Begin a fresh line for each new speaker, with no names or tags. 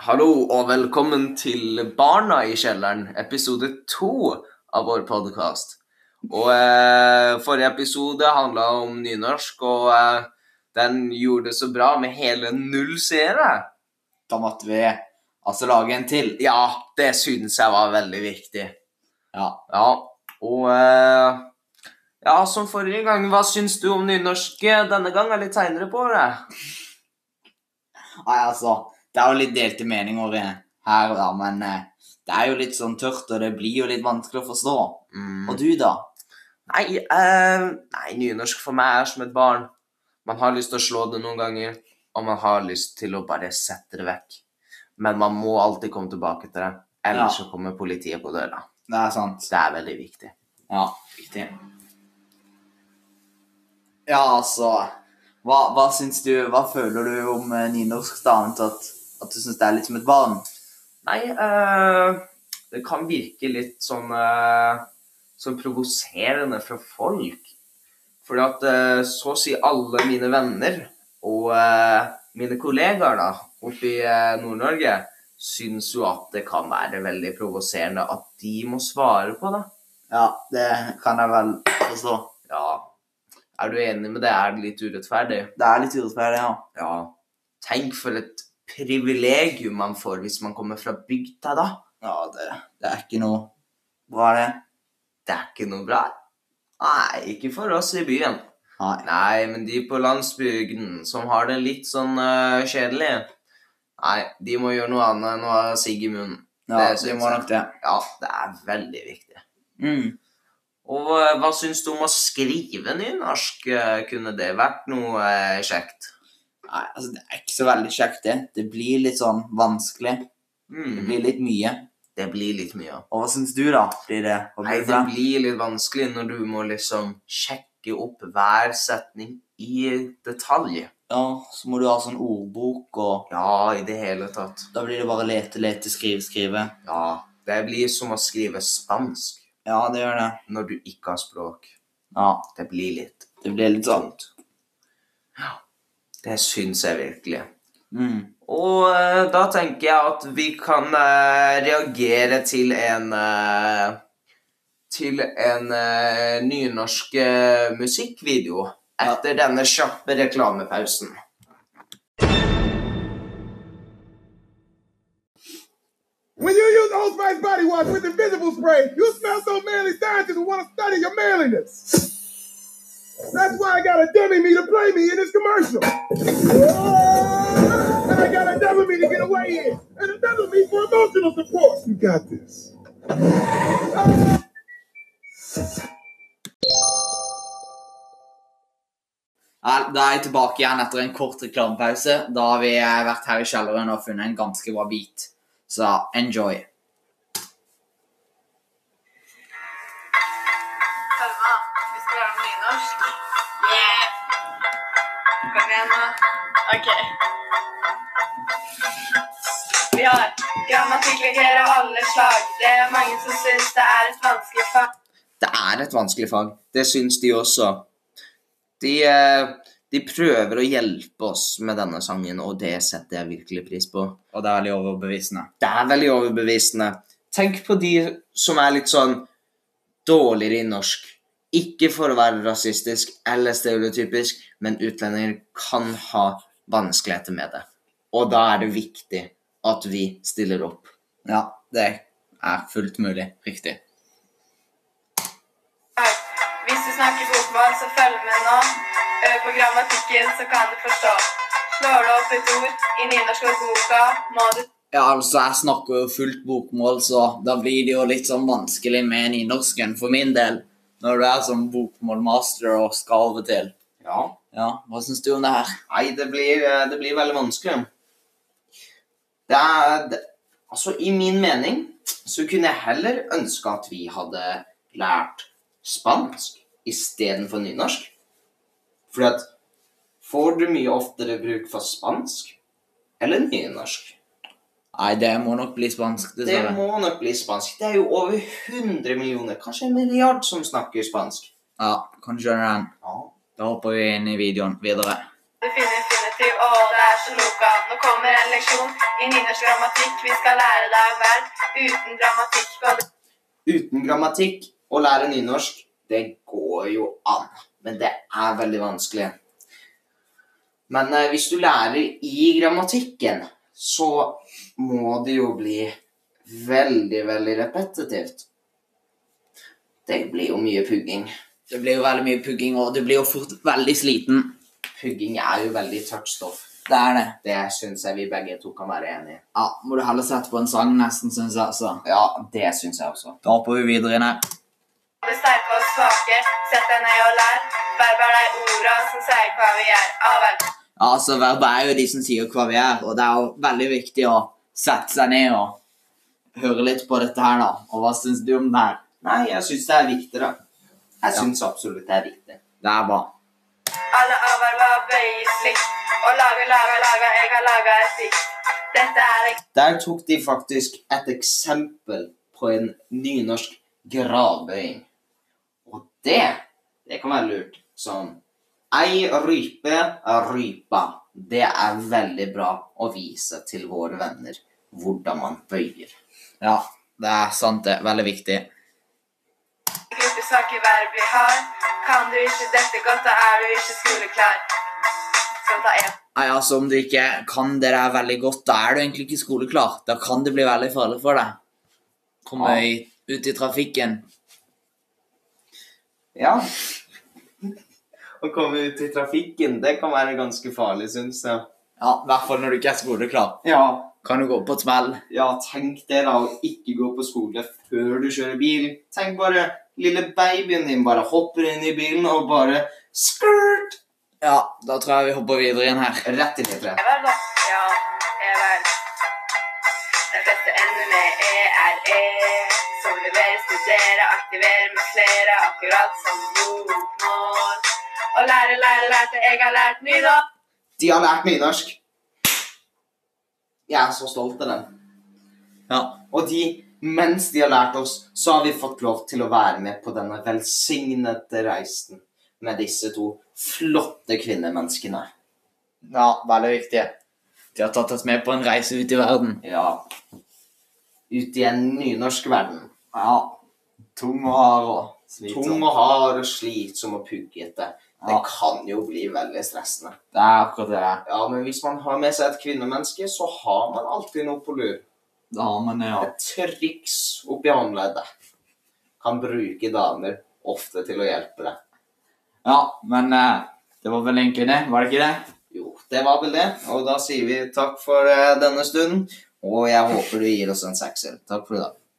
Hallo og velkommen til Barna i kjelleren, episode to av vår podkast. Og eh, forrige episode handla om nynorsk, og eh, den gjorde det så bra med hele null seere.
Da måtte vi altså lage en til.
Ja, det syns jeg var veldig viktig.
Ja.
Ja, og eh, Ja, som forrige gang, hva syns du om nynorsk eh, denne gang? Er litt seinere på det.
Nei, altså, det er jo litt delte meninger eh, her og der, men eh, det er jo litt sånn tørt, og det blir jo litt vanskelig å forstå.
Mm.
Og du, da?
Nei, eh, nei, nynorsk for meg er som et barn. Man har lyst til å slå det noen ganger, og man har lyst til å bare sette det vekk. Men man må alltid komme tilbake til det, ellers
Ja.
så kommer politiet på døra.
Det er sant.
Så det er veldig viktig.
Ja, riktig. Ja, altså Hva, hva syns du Hva føler du om eh, nynorsk, da? Annet at, at du syns det er litt som et barn?
Nei, eh, det kan virke litt sånn eh, sånn provoserende fra folk. Fordi at eh, så å si alle mine venner og eh, mine kollegaer da, oppe i eh, Nord-Norge syns jo at det kan være veldig provoserende at de må svare på det.
Ja, det kan jeg vel forstå.
Ja. Er du enig med det? Er det litt urettferdig?
Det er litt urettferdig, ja.
Ja. Tenk for et privilegium man får hvis man kommer fra bygda, da.
Ja, det, det er ikke noe bra, det.
Det er ikke noe bra. Nei, ikke for oss i byen.
Nei.
Nei, men de på landsbygden som har det litt sånn øh, kjedelig Nei, de må gjøre noe annet enn å ha sigg i munnen.
Ja,
Det
det
syns
må
jeg.
nok det.
Ja, det er veldig viktig.
Mm.
Og øh, hva syns du om å skrive nynorsk? Øh, Kunne det vært noe øh, kjekt?
Nei, altså det er ikke så veldig kjekt det. Det blir litt sånn vanskelig. Det
Mm,
blir litt mye.
det blir litt mye.
Og hva syns du, da? Blir det, hva
Nei,
blir det
det
for deg?
blir litt vanskelig når du må liksom sjekke opp hver setning i detalj.
Ja, så må du ha sånn ordbok, og
Ja, i det hele tatt.
da blir det bare lete, lete, skrive, skrive.
Ja, det blir som å skrive spansk
Ja, det gjør det.
når du ikke har språk.
Ja,
Det blir litt
det blir litt sånn.
tungt. Ja, det syns jeg virkelig.
Mm.
Og eh, da tenker jeg at vi kan eh, reagere til en eh, Til en eh, nynorsk eh, musikkvideo etter denne kjappe reklamepausen.
When you use Old Spice body wash with invisible spray, you smell so manly scientists will want to study your manliness. That's why I got a dummy me to play me in this commercial. And I got a double me to get away in. And a double me for emotional support. You got this.
Ja, Da er jeg tilbake igjen etter en kort reklamepause. Da har vi eh, vært her i kjelleren og funnet en ganske bra bit. Så enjoy.
Selma, vi skal gjøre noe nynorsk. Yeah! Kom igjen, da. Ok. Vi har grammatikkleger av alle slag. Det er mange som syns det er et vanskelig fag.
Det er et vanskelig fag. Det syns de også. De, eh, de prøver å hjelpe oss med denne sangen, og det setter jeg virkelig pris på.
Og det er veldig overbevisende.
Det er veldig overbevisende. Tenk på de som er litt sånn dårligere i norsk. Ikke for å være rasistisk eller stereotypisk, men utlendinger kan ha vanskeligheter med det. Og da er det viktig at vi stiller opp.
Ja, det er fullt mulig. Riktig.
Hvis du snakker bokmål, så følg med nå. Øv på grammatikken, så kan du forstå. Slår du opp et ord i nynorskordboka, må du
Ja, altså, jeg snakker jo fullt bokmål, så da blir det jo litt sånn vanskelig med nynorsken for min del. Når du er sånn bokmålmaster og skal over til.
Ja.
Ja, hva syns du om det her?
Nei, det blir, eh, det blir veldig vanskelig. Det er det, Altså, i min mening så kunne jeg heller ønske at vi hadde lært spansk istedenfor nynorsk. Fordi at Får du mye oftere bruk for spansk eller nynorsk?
Nei, det må nok bli spansk,
Det
dessverre.
må nok bli spansk. Det er jo over 100 millioner, kanskje en milliard, som snakker spansk.
Ja, kan skjønne den.
Ja.
Da hopper vi inn i videoen videre.
Du finner aktiv, og det er så loka. Nå kommer en leksjon i nynorsk grammatikk. Vi skal lære deg hver uten grammatikk. Og det
Uten grammatikk å lære nynorsk, det går jo an. Men det er veldig vanskelig. Men eh, hvis du lærer i grammatikken, så må det jo bli veldig, veldig repetitivt. Det blir jo mye pugging.
Det blir jo veldig mye pugging, og du blir jo fort veldig sliten.
Pugging er jo veldig tørt stoff.
Det er det.
Det syns jeg vi begge to kan være enig i.
Ja, må du heller sette på en sang nesten, synes jeg, altså.
Ja, det syns jeg også.
Da hopper vi videre inn her.
Det sterke og svake, sett deg ned og lær. Verb er de orda som sier hva vi er. Avverb.
Ja, altså, verbet er jo de som sier hva vi er, og det er jo veldig viktig å sette seg ned og høre litt på dette her, da. Og hva synes du om det her?
Nei, jeg syns det er viktig, da. Jeg syns absolutt det er viktig.
Det er bra.
Alle avverba bøyes likt. Og lager, lager, lager, jeg har laga et dikt. Dette er et
Der tok de faktisk et eksempel på en nynorsk gradbøying. Og det, det kan være lurt. Sånn Ei rype er rypa. Det er veldig bra å vise til våre venner hvordan man bøyer.
Ja, det er sant det. Veldig viktig.
gruppesvake verb vi har. Kan du ikke dette godt, da er du ikke skoleklar. Så ta en.
Nei, altså, om du ikke kan det der veldig godt, da er du egentlig ikke skoleklar. Da kan det bli veldig farlig for deg. Komme
Ja.
i- ut i trafikken.
Ja. Å komme ut i trafikken, det kan være ganske farlig, syns jeg.
Ja, i hvert fall når du ikke er skoleklar.
Ja,
Kan du gå på et smell?
Ja, tenk det da, å ikke gå på skole før du kjører bil. Tenk bare, lille babyen din bare hopper inn i bilen og bare skurt!
Ja, da tror jeg vi hopper videre inn her.
Rett inn i treet.
Ever, da. Ja, Ever. Den beste enden med E, ERE. Som leverer, studerer, aktiverer med flere, akkurat som bokmål. Og lære, lære, lærte, jeg har lært nynorsk.
De har lært nynorsk. Jeg er så stolt av dem.
Ja.
Og de, mens de har lært oss, så har vi fått lov til å være med på denne velsignede reisen med disse to flotte kvinnemenneskene.
ja, veldig viktig. De har tatt oss med på en reise ut i verden.
Ja. Ut i en nynorsk verden. Ja.
Tung og hard og
Tung og hard og slitsom og puggete. Det
Ja.
kan jo bli veldig stressende.
Det er akkurat det.
Ja, men hvis man har med seg et kvinnemenneske, så har man alltid noe på lur.
Da har man det, ja.
Et triks oppi håndleddet. Kan bruke damer ofte til å hjelpe deg.
Ja, men eh, det var vel egentlig det, var det ikke det?
Jo, det var vel det. Og da sier vi takk for eh, denne stunden. Og jeg håper du gir oss en sekser. Takk for i dag.